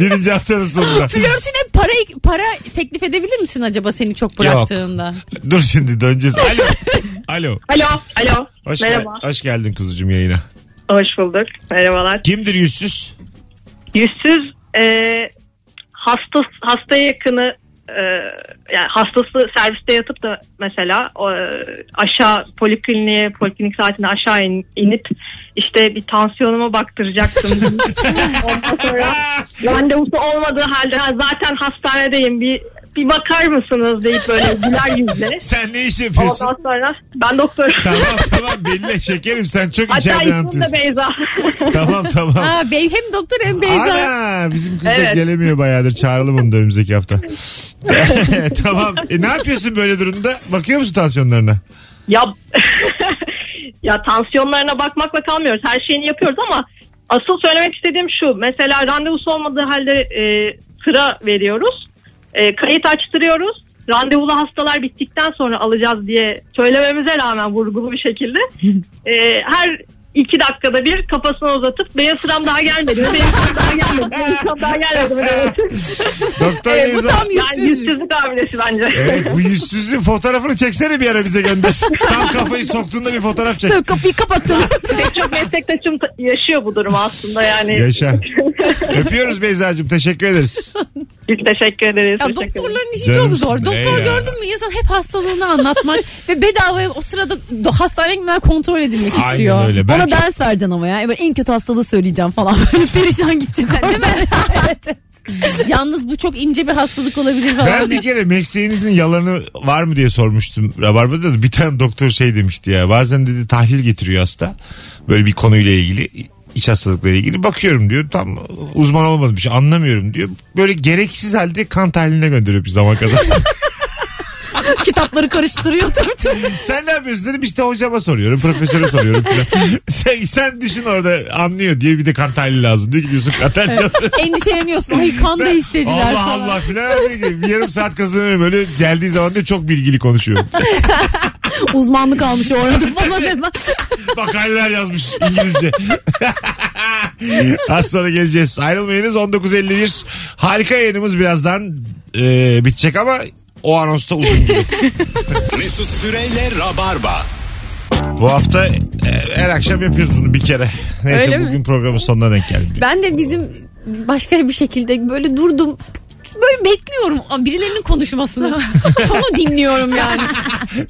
Speaker 3: Birinci haftanın sonunda.
Speaker 5: Flörtüne para para teklif edebilir misin acaba seni çok bıraktığında?
Speaker 3: Dur şimdi döneceğiz. Alo. Alo.
Speaker 8: Alo, alo.
Speaker 3: Hoş, gel-
Speaker 8: Merhaba.
Speaker 3: hoş geldin kuzucuğum yayına.
Speaker 8: Hoş bulduk. Merhabalar.
Speaker 3: Kimdir yüzsüz?
Speaker 8: Yüzsüz e, hasta hasta yakını e, yani hastası serviste yatıp da mesela e, aşağı polikliniğe poliklinik saatinde aşağı in- inip işte bir tansiyonuma baktıracaktım. Ondan sonra randevusu olmadığı halde "Ha, zaten hastanedeyim bir bir bakar mısınız deyip böyle güler yüzle.
Speaker 3: Sen ne iş yapıyorsun?
Speaker 8: Ondan sonra ben doktorum.
Speaker 3: tamam tamam belli şekerim sen çok
Speaker 8: Hatta
Speaker 3: içeriden
Speaker 8: ismim de
Speaker 3: anlatıyorsun.
Speaker 8: Beyza.
Speaker 3: Tamam tamam.
Speaker 5: Aa, bey hem doktor hem Beyza.
Speaker 3: Ana bizim kız da
Speaker 8: Evet.
Speaker 3: gelemiyor bayağıdır. Çağıralım onu da önümüzdeki hafta. tamam. E, ne yapıyorsun böyle durumda? Bakıyor musun tansiyonlarına?
Speaker 8: Ya ya tansiyonlarına bakmakla kalmıyoruz. Her şeyini yapıyoruz ama asıl söylemek istediğim şu. Mesela randevusu olmadığı halde e, sıra veriyoruz. E, kayıt açtırıyoruz. Randevulu hastalar bittikten sonra alacağız diye söylememize rağmen vurgulu bir şekilde e, her iki dakikada bir kafasını uzatıp benim sıram daha gelmedi. Benim sıram daha gelmedi. Benim sıram daha gelmedi. Böyle.
Speaker 3: Doktor
Speaker 5: Evet, E, bu
Speaker 3: Beyza-
Speaker 5: tam
Speaker 8: Yani
Speaker 5: yüzsüz.
Speaker 8: yüzsüzlük hamilesi bence.
Speaker 3: Evet bu yüzsüzlüğün fotoğrafını çeksene bir ara bize gönder. Tam kafayı soktuğunda bir fotoğraf çek.
Speaker 4: Kapıyı kapatalım.
Speaker 8: Pek çok meslektaşım ta- yaşıyor bu durumu aslında yani.
Speaker 3: Yaşa. Öpüyoruz Beyza'cığım. Teşekkür ederiz.
Speaker 8: Biz teşekkür ederiz.
Speaker 5: Ya
Speaker 8: Teşekkür ederiz.
Speaker 5: doktorların işi
Speaker 3: Canım
Speaker 5: çok zor.
Speaker 3: sizin,
Speaker 5: Doktor
Speaker 3: ey ya.
Speaker 5: gördün mü insan hep hastalığını anlatmak ve bedavaya o sırada do- hastaneye gitmeden kontrol edilmek
Speaker 3: Aynen
Speaker 5: istiyor.
Speaker 3: öyle. Ben
Speaker 4: Ona
Speaker 3: çok-
Speaker 4: ders vereceksin ama ya. Böyle en kötü hastalığı söyleyeceğim falan. Böyle perişan gidecek. Değil mi?
Speaker 5: Yalnız bu çok ince bir hastalık olabilir falan.
Speaker 3: Ben bir kere mesleğinizin yalanı var mı diye sormuştum. Rabarba'da da bir tane doktor şey demişti ya. Bazen dedi tahlil getiriyor hasta. Böyle bir konuyla ilgili iç hastalıklarıyla ilgili bakıyorum diyor. Tam uzman olmadım bir şey anlamıyorum diyor. Böyle gereksiz halde kan tahliline gönderiyor bir zaman kazansın.
Speaker 4: Kitapları karıştırıyor tabii tabii.
Speaker 3: sen ne yapıyorsun dedim işte hocama soruyorum profesöre soruyorum falan. sen, sen düşün orada anlıyor diye bir de kan tahlili lazım diyor gidiyorsun kan tahlili alıyorsun.
Speaker 5: Endişeleniyorsun. Ay kan da istediler
Speaker 3: Allah
Speaker 5: falan.
Speaker 3: Allah filan. Bir yarım saat kazanıyorum öyle geldiği zaman da çok bilgili konuşuyorum.
Speaker 4: Uzmanlık almış orada falan hemen.
Speaker 3: Makaleler yazmış İngilizce. Az sonra geleceğiz. Ayrılmayınız 19.51. Harika yayınımız birazdan e, bitecek ama o anonsta uzun gibi.
Speaker 1: Mesut Süreyle Rabarba.
Speaker 3: Bu hafta e, her akşam yapıyoruz bunu bir kere. Neyse
Speaker 5: Öyle mi?
Speaker 3: bugün programın sonuna denk geldik.
Speaker 5: Ben de bizim başka bir şekilde böyle durdum. Böyle bekliyorum birilerinin konuşmasını. Konu dinliyorum yani.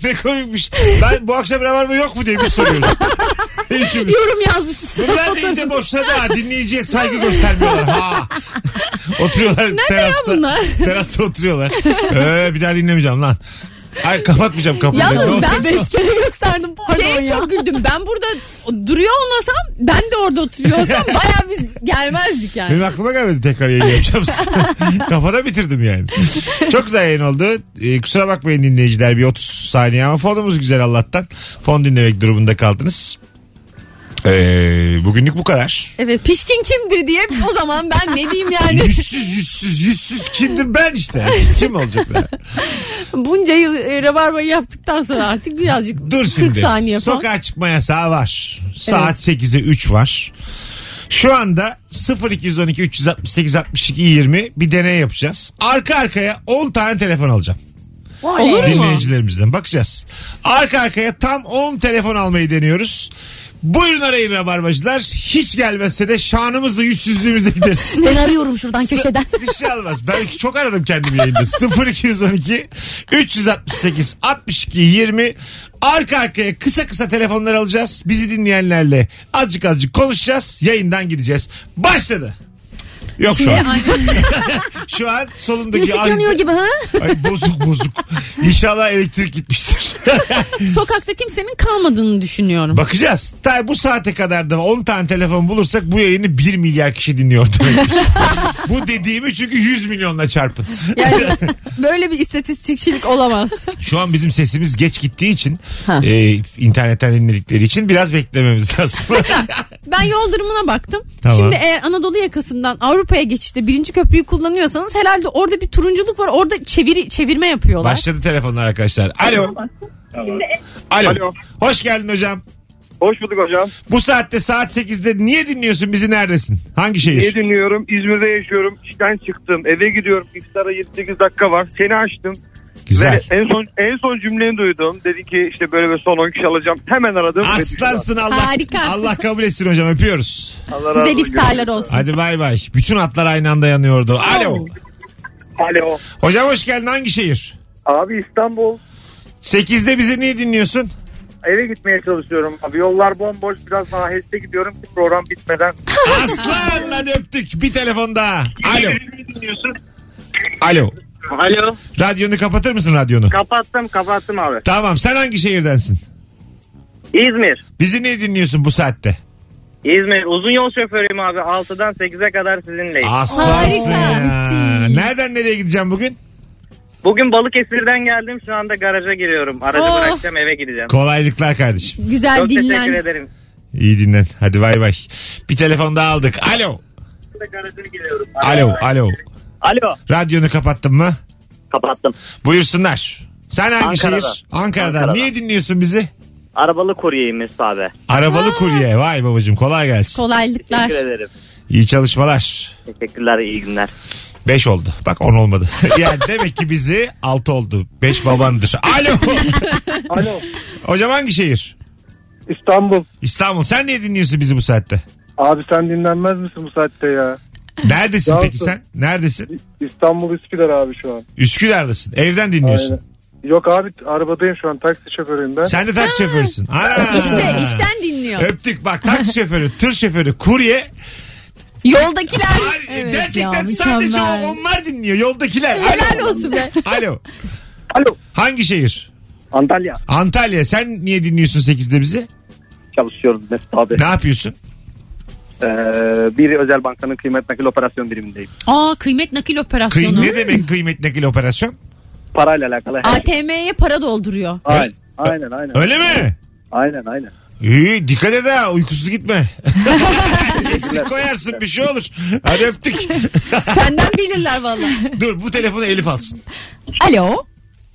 Speaker 3: ne komikmiş. Ben bu akşam ne var mı yok mu diye bir soruyorum. Üçümüz.
Speaker 5: Yorum yazmışız.
Speaker 3: Bunlar da iyice boşladı ha. Dinleyiciye saygı göstermiyorlar. Ha. Oturuyorlar terasta.
Speaker 5: bunlar?
Speaker 3: Terasta oturuyorlar. Ee, bir daha dinlemeyeceğim lan. Ay kapatmayacağım kapıyı. Ne
Speaker 5: Yalnız
Speaker 3: olsa
Speaker 5: ben
Speaker 3: olsun.
Speaker 5: beş kere gösterdim. Şeye çok güldüm. Ben burada duruyor olmasam ben de orada oturuyor olsam baya biz gelmezdik yani.
Speaker 3: Benim aklıma gelmedi tekrar yayın yapacağım. Kafada bitirdim yani. Çok güzel yayın oldu. Ee, kusura bakmayın dinleyiciler bir 30 saniye ama fonumuz güzel Allah'tan. Fon dinlemek durumunda kaldınız. Ee, bugünlük bu kadar.
Speaker 5: Evet pişkin kimdir diye o zaman ben ne diyeyim yani.
Speaker 3: Yüzsüz yüzsüz yüzsüz kimdir ben işte. Kim olacak ben?
Speaker 5: Bunca yıl e, rabarbayı yaptıktan sonra artık birazcık
Speaker 3: Dur
Speaker 5: 40
Speaker 3: şimdi.
Speaker 5: saniye falan.
Speaker 3: Sokağa çıkma yasağı var. Saat 8'e 3 var. Şu anda 0212 368 62 20 bir deney yapacağız. Arka arkaya 10 tane telefon alacağım.
Speaker 5: Olur mu?
Speaker 3: dinleyicilerimizden bakacağız. Arka arkaya tam 10 telefon almayı deniyoruz. Buyurun arayın rabarbacılar. Hiç gelmezse de şanımızla yüzsüzlüğümüzle gideriz.
Speaker 4: Ben arıyorum şuradan köşeden.
Speaker 3: Bir şey almaz. Ben çok aradım kendimi yayında. 0212 368 62 20 arka arkaya kısa kısa telefonlar alacağız. Bizi dinleyenlerle azıcık azıcık konuşacağız. Yayından gideceğiz. Başladı. Yok şu
Speaker 5: Şimdi
Speaker 3: an.
Speaker 5: ay-
Speaker 3: Şu an solundaki
Speaker 4: Işık yanıyor
Speaker 3: Azize-
Speaker 4: gibi ha?
Speaker 3: Ay bozuk bozuk. İnşallah elektrik gitmiştir.
Speaker 5: sokakta kimsenin kalmadığını düşünüyorum.
Speaker 3: Bakacağız. Ta bu saate kadar da 10 tane telefon bulursak bu yayını 1 milyar kişi dinliyor demektir. bu dediğimi çünkü 100 milyonla çarpın.
Speaker 5: Yani böyle bir istatistikçilik olamaz.
Speaker 3: Şu an bizim sesimiz geç gittiği için
Speaker 5: Ha.
Speaker 3: e, internetten dinledikleri için biraz beklememiz lazım.
Speaker 5: Ben yol durumuna baktım.
Speaker 3: Tamam.
Speaker 5: Şimdi eğer Anadolu yakasından Avrupa'ya geçişte birinci köprüyü kullanıyorsanız herhalde orada bir turunculuk var. Orada çeviri çevirme yapıyorlar.
Speaker 3: Başladı telefonlar arkadaşlar. Alo. Alo. Hoş geldin hocam.
Speaker 9: Hoş bulduk hocam.
Speaker 3: Bu saatte saat 8'de niye dinliyorsun bizi neredesin? Hangi şehir?
Speaker 9: İyi dinliyorum. İzmir'de yaşıyorum. İşten çıktım. Eve gidiyorum. İftara 7-8 dakika var. Seni açtım.
Speaker 3: Güzel.
Speaker 9: Ve en son en son cümleni duydum. Dedi ki işte böyle ve son 10 kişi alacağım. Hemen aradım. ve düştüm.
Speaker 3: Aslansın Allah.
Speaker 5: Harika.
Speaker 3: Allah kabul etsin hocam öpüyoruz.
Speaker 9: Allah razı
Speaker 5: Güzel
Speaker 9: olsun.
Speaker 5: iftarlar olsun.
Speaker 3: Hadi bay bay. Bütün atlar aynı anda yanıyordu. Alo.
Speaker 9: Alo.
Speaker 3: Hocam hoş geldin hangi şehir?
Speaker 9: Abi İstanbul.
Speaker 3: 8'de bizi niye dinliyorsun?
Speaker 9: Eve gitmeye çalışıyorum abi. Yollar bomboş. Biraz daha heste gidiyorum ki program bitmeden.
Speaker 3: Aslan hadi öptük. Bir telefon daha. Alo. Alo.
Speaker 9: Alo.
Speaker 3: Radyonu kapatır mısın radyonu?
Speaker 9: Kapattım kapattım abi.
Speaker 3: Tamam sen hangi şehirdensin?
Speaker 9: İzmir.
Speaker 3: Bizi niye dinliyorsun bu saatte?
Speaker 9: İzmir. Uzun yol şoförüyüm abi. 6'dan 8'e kadar sizinleyim.
Speaker 3: Aslansın
Speaker 5: Harika,
Speaker 3: ya. Nereden nereye gideceğim bugün?
Speaker 9: Bugün Balıkesir'den geldim. Şu anda garaja giriyorum. Aracı
Speaker 5: Oh.
Speaker 9: bırakacağım eve gideceğim.
Speaker 3: Kolaylıklar kardeşim.
Speaker 5: Güzel
Speaker 9: Çok teşekkür
Speaker 5: dinlen.
Speaker 9: ederim.
Speaker 3: İyi dinlen. Hadi bay bay. Bir telefon daha aldık. Alo. Alo. Alo.
Speaker 9: Alo.
Speaker 3: Radyonu kapattın mı?
Speaker 9: Kapattım.
Speaker 3: Buyursunlar. Sen hangi
Speaker 9: Ankara'dan.
Speaker 3: şehir? Ankara'dan.
Speaker 9: Ankara'dan.
Speaker 3: Niye dinliyorsun bizi?
Speaker 9: Arabalı kuryeyim Mesut abi.
Speaker 3: Arabalı kurye. Vay babacığım kolay gelsin.
Speaker 5: Kolaylıklar.
Speaker 9: Teşekkür ederim.
Speaker 3: İyi çalışmalar.
Speaker 9: Teşekkürler iyi günler.
Speaker 3: 5 oldu. Bak 10 olmadı. yani demek ki bizi 6 oldu. 5 babandır. Alo.
Speaker 9: Alo.
Speaker 3: Hocam hangi şehir?
Speaker 9: İstanbul.
Speaker 3: İstanbul. Sen niye dinliyorsun bizi bu saatte?
Speaker 9: Abi sen dinlenmez misin bu saatte ya?
Speaker 3: Neredesin
Speaker 9: Ya
Speaker 3: peki
Speaker 9: olsun.
Speaker 3: sen? Neredesin?
Speaker 9: İstanbul Üsküdar abi şu an.
Speaker 3: Üsküdar'dasın. Evden dinliyorsun.
Speaker 9: Aynen. Yok abi arabadayım şu an taksi şoförüyüm ben.
Speaker 3: Sen de taksi şoförüsün. Ana.
Speaker 5: İşte işten dinliyor.
Speaker 3: Öptük bak taksi şoförü, tır şoförü, kurye.
Speaker 5: Yoldakiler.
Speaker 3: Ay,
Speaker 5: Evet ya,
Speaker 3: gerçekten
Speaker 5: mükemmel.
Speaker 3: sadece o- onlar dinliyor. Yoldakiler.
Speaker 5: Helal
Speaker 3: Alo.
Speaker 5: olsun be.
Speaker 3: Alo.
Speaker 9: Alo.
Speaker 3: Hangi şehir?
Speaker 9: Antalya.
Speaker 3: Antalya. Sen niye dinliyorsun 8'de bizi?
Speaker 9: Çalışıyorum Mesut abi.
Speaker 3: Ne yapıyorsun?
Speaker 9: Ee, bir özel bankanın kıymet nakil operasyon birimindeyim.
Speaker 5: Aa kıymet nakil
Speaker 3: Kıy-
Speaker 5: operasyonu.
Speaker 3: ne demek kıymet nakil operasyon?
Speaker 9: Parayla alakalı. şey.
Speaker 5: ATM'ye para dolduruyor.
Speaker 9: Aynen. Aynen aynen.
Speaker 3: Öyle mi?
Speaker 9: Aynen aynen.
Speaker 3: İyi dikkat et ha uykusuz gitme. Eksik koyarsın bir şey olur. Hadi öptük.
Speaker 5: Senden bilirler vallahi.
Speaker 3: Dur bu telefonu Elif alsın.
Speaker 4: Alo.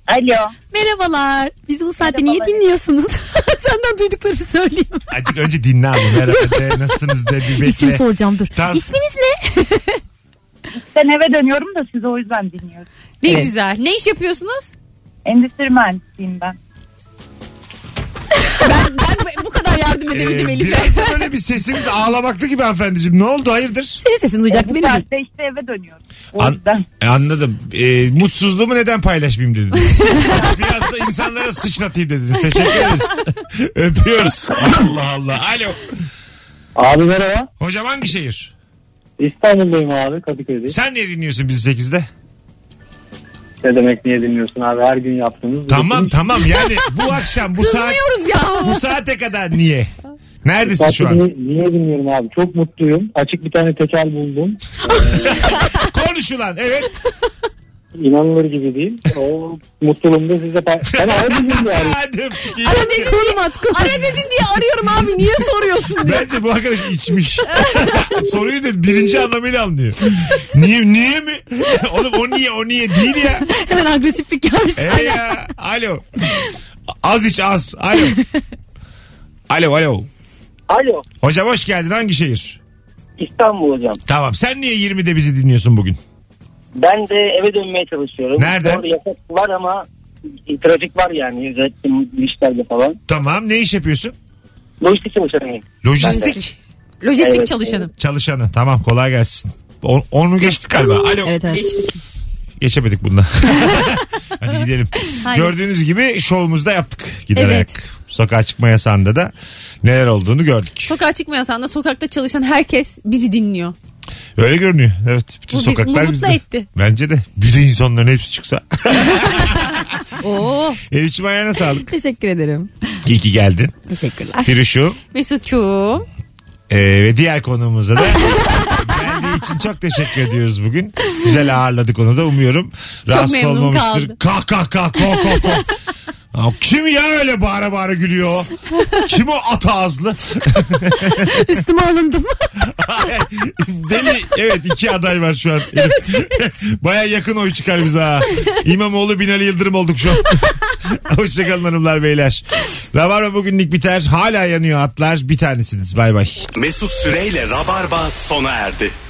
Speaker 8: Alo.
Speaker 4: Merhabalar. Bizi bu saatte niye dinliyorsunuz? Senden duyduklarımı söyleyeyim.
Speaker 3: Azıcık önce dinle abi. Merhaba de nasılsınız de bir
Speaker 4: İsim
Speaker 3: bekle.
Speaker 4: soracağım dur.
Speaker 3: Tamam.
Speaker 4: İsminiz ne?
Speaker 8: Ben eve dönüyorum da sizi o yüzden dinliyorum.
Speaker 5: Ne
Speaker 4: Evet.
Speaker 5: güzel. Ne iş yapıyorsunuz?
Speaker 8: Endüstri mühendisiyim ben.
Speaker 5: Ben, ben bu- bu kadar yardım demedim
Speaker 3: Ee,
Speaker 5: Elif'e.
Speaker 3: Biraz da böyle bir sesiniz ağlamaklı gibi hanımefendiciğim. Ne oldu hayırdır?
Speaker 4: Senin sesini duyacaktı
Speaker 10: Bu
Speaker 4: benim. değil.
Speaker 10: saatte işte eve dönüyorum. O
Speaker 3: An-
Speaker 10: yüzden.
Speaker 3: E, anladım. E, mutsuzluğumu neden paylaşmayayım dediniz. biraz da insanlara sıçratayım dediniz. Teşekkür ederiz. Öpüyoruz. Allah Allah. Alo.
Speaker 6: Abi merhaba.
Speaker 3: Hocam hangi şehir?
Speaker 6: İstanbul'dayım abi Kadıköy'de.
Speaker 3: Sen niye dinliyorsun bizi 8'de?
Speaker 6: Ne demek niye dinliyorsun abi her gün yaptığımız.
Speaker 3: Tamam tamam yani bu akşam bu saat
Speaker 5: Kızmıyoruz ya.
Speaker 3: bu saate kadar niye? Neredesin şu an?
Speaker 6: Niye, niye dinliyorum abi çok mutluyum. Açık bir tane tekel buldum.
Speaker 3: Konuş ulan evet.
Speaker 6: İnanılır gibi değil. O mutluluğumu da size pay- Ben ağabeyim yani.
Speaker 3: Hadi öptük iyi.
Speaker 5: Ara dedin, diye, ara dedin diye arıyorum abi niye soruyorsun diye.
Speaker 3: Bence bu arkadaş içmiş. Soruyu da birinci anlamıyla anlıyor. niye niye mi? Oğlum o niye o niye değil ya.
Speaker 4: Hemen agresiflik yapmış.
Speaker 3: E ya. Alo. Az iç az. Alo. Alo alo.
Speaker 6: Alo
Speaker 3: Hocam hoş geldin hangi şehir?
Speaker 6: İstanbul hocam.
Speaker 3: Tamam sen niye 20'de bizi dinliyorsun bugün?
Speaker 6: Ben de eve dönmeye çalışıyorum.
Speaker 3: Nereden?
Speaker 6: Doğru yasak var ama trafik var yani özellikle işlerde falan.
Speaker 3: Tamam ne iş yapıyorsun?
Speaker 6: Lojistik çalışıyorum.
Speaker 3: Lojistik
Speaker 4: Lojistik
Speaker 6: Evet.
Speaker 4: çalışanım.
Speaker 3: çalışanı. Tamam kolay gelsin. O- Onu geçtik galiba. Alo.
Speaker 4: Evet evet.
Speaker 3: Geçemedik bundan. Hadi gidelim.
Speaker 4: Haydi.
Speaker 3: Gördüğünüz gibi şovumuzda yaptık giderek.
Speaker 4: Evet.
Speaker 3: Sokağa çıkma yasağında da neler olduğunu gördük.
Speaker 5: Sokağa çıkmayasan da sokakta çalışan herkes bizi dinliyor.
Speaker 3: Öyle görünüyor. Evet. Bütün
Speaker 5: Bu bizi
Speaker 3: sokaklar
Speaker 5: mutlu
Speaker 3: bizde.
Speaker 5: etti.
Speaker 3: Bence de. Bir de insanların hepsi çıksa.
Speaker 4: Oo,
Speaker 3: Elif'ciğim ayağına sağlık.
Speaker 4: teşekkür ederim. Ah,
Speaker 3: İyi ki geldin.
Speaker 4: Teşekkürler.
Speaker 3: Firuş'u
Speaker 4: Mesut'cuğum.
Speaker 3: e, ve diğer konuğumuza da geldiği için çok teşekkür ediyoruz bugün. Güzel ağırladık onu da umuyorum. Rahatsız
Speaker 5: memnun
Speaker 3: olmamıştır.
Speaker 5: kaldı.
Speaker 3: Kah kah kah kah kah kah. Aa, Kim ya öyle bağıra bağıra gülüyor? Kim o at ağızlı?
Speaker 4: Üstüme alındım.
Speaker 3: Deli evet iki aday var şu an. Baya yakın oy çıkar bize ha. İmamoğlu Binali Yıldırım olduk şu an. Hoşçakalın hanımlar beyler. Rabarba bugünlük biter. Hala yanıyor atlar. Bir tanesiniz. Bay bay.
Speaker 1: Mesut Süreyle Rabarba sona erdi.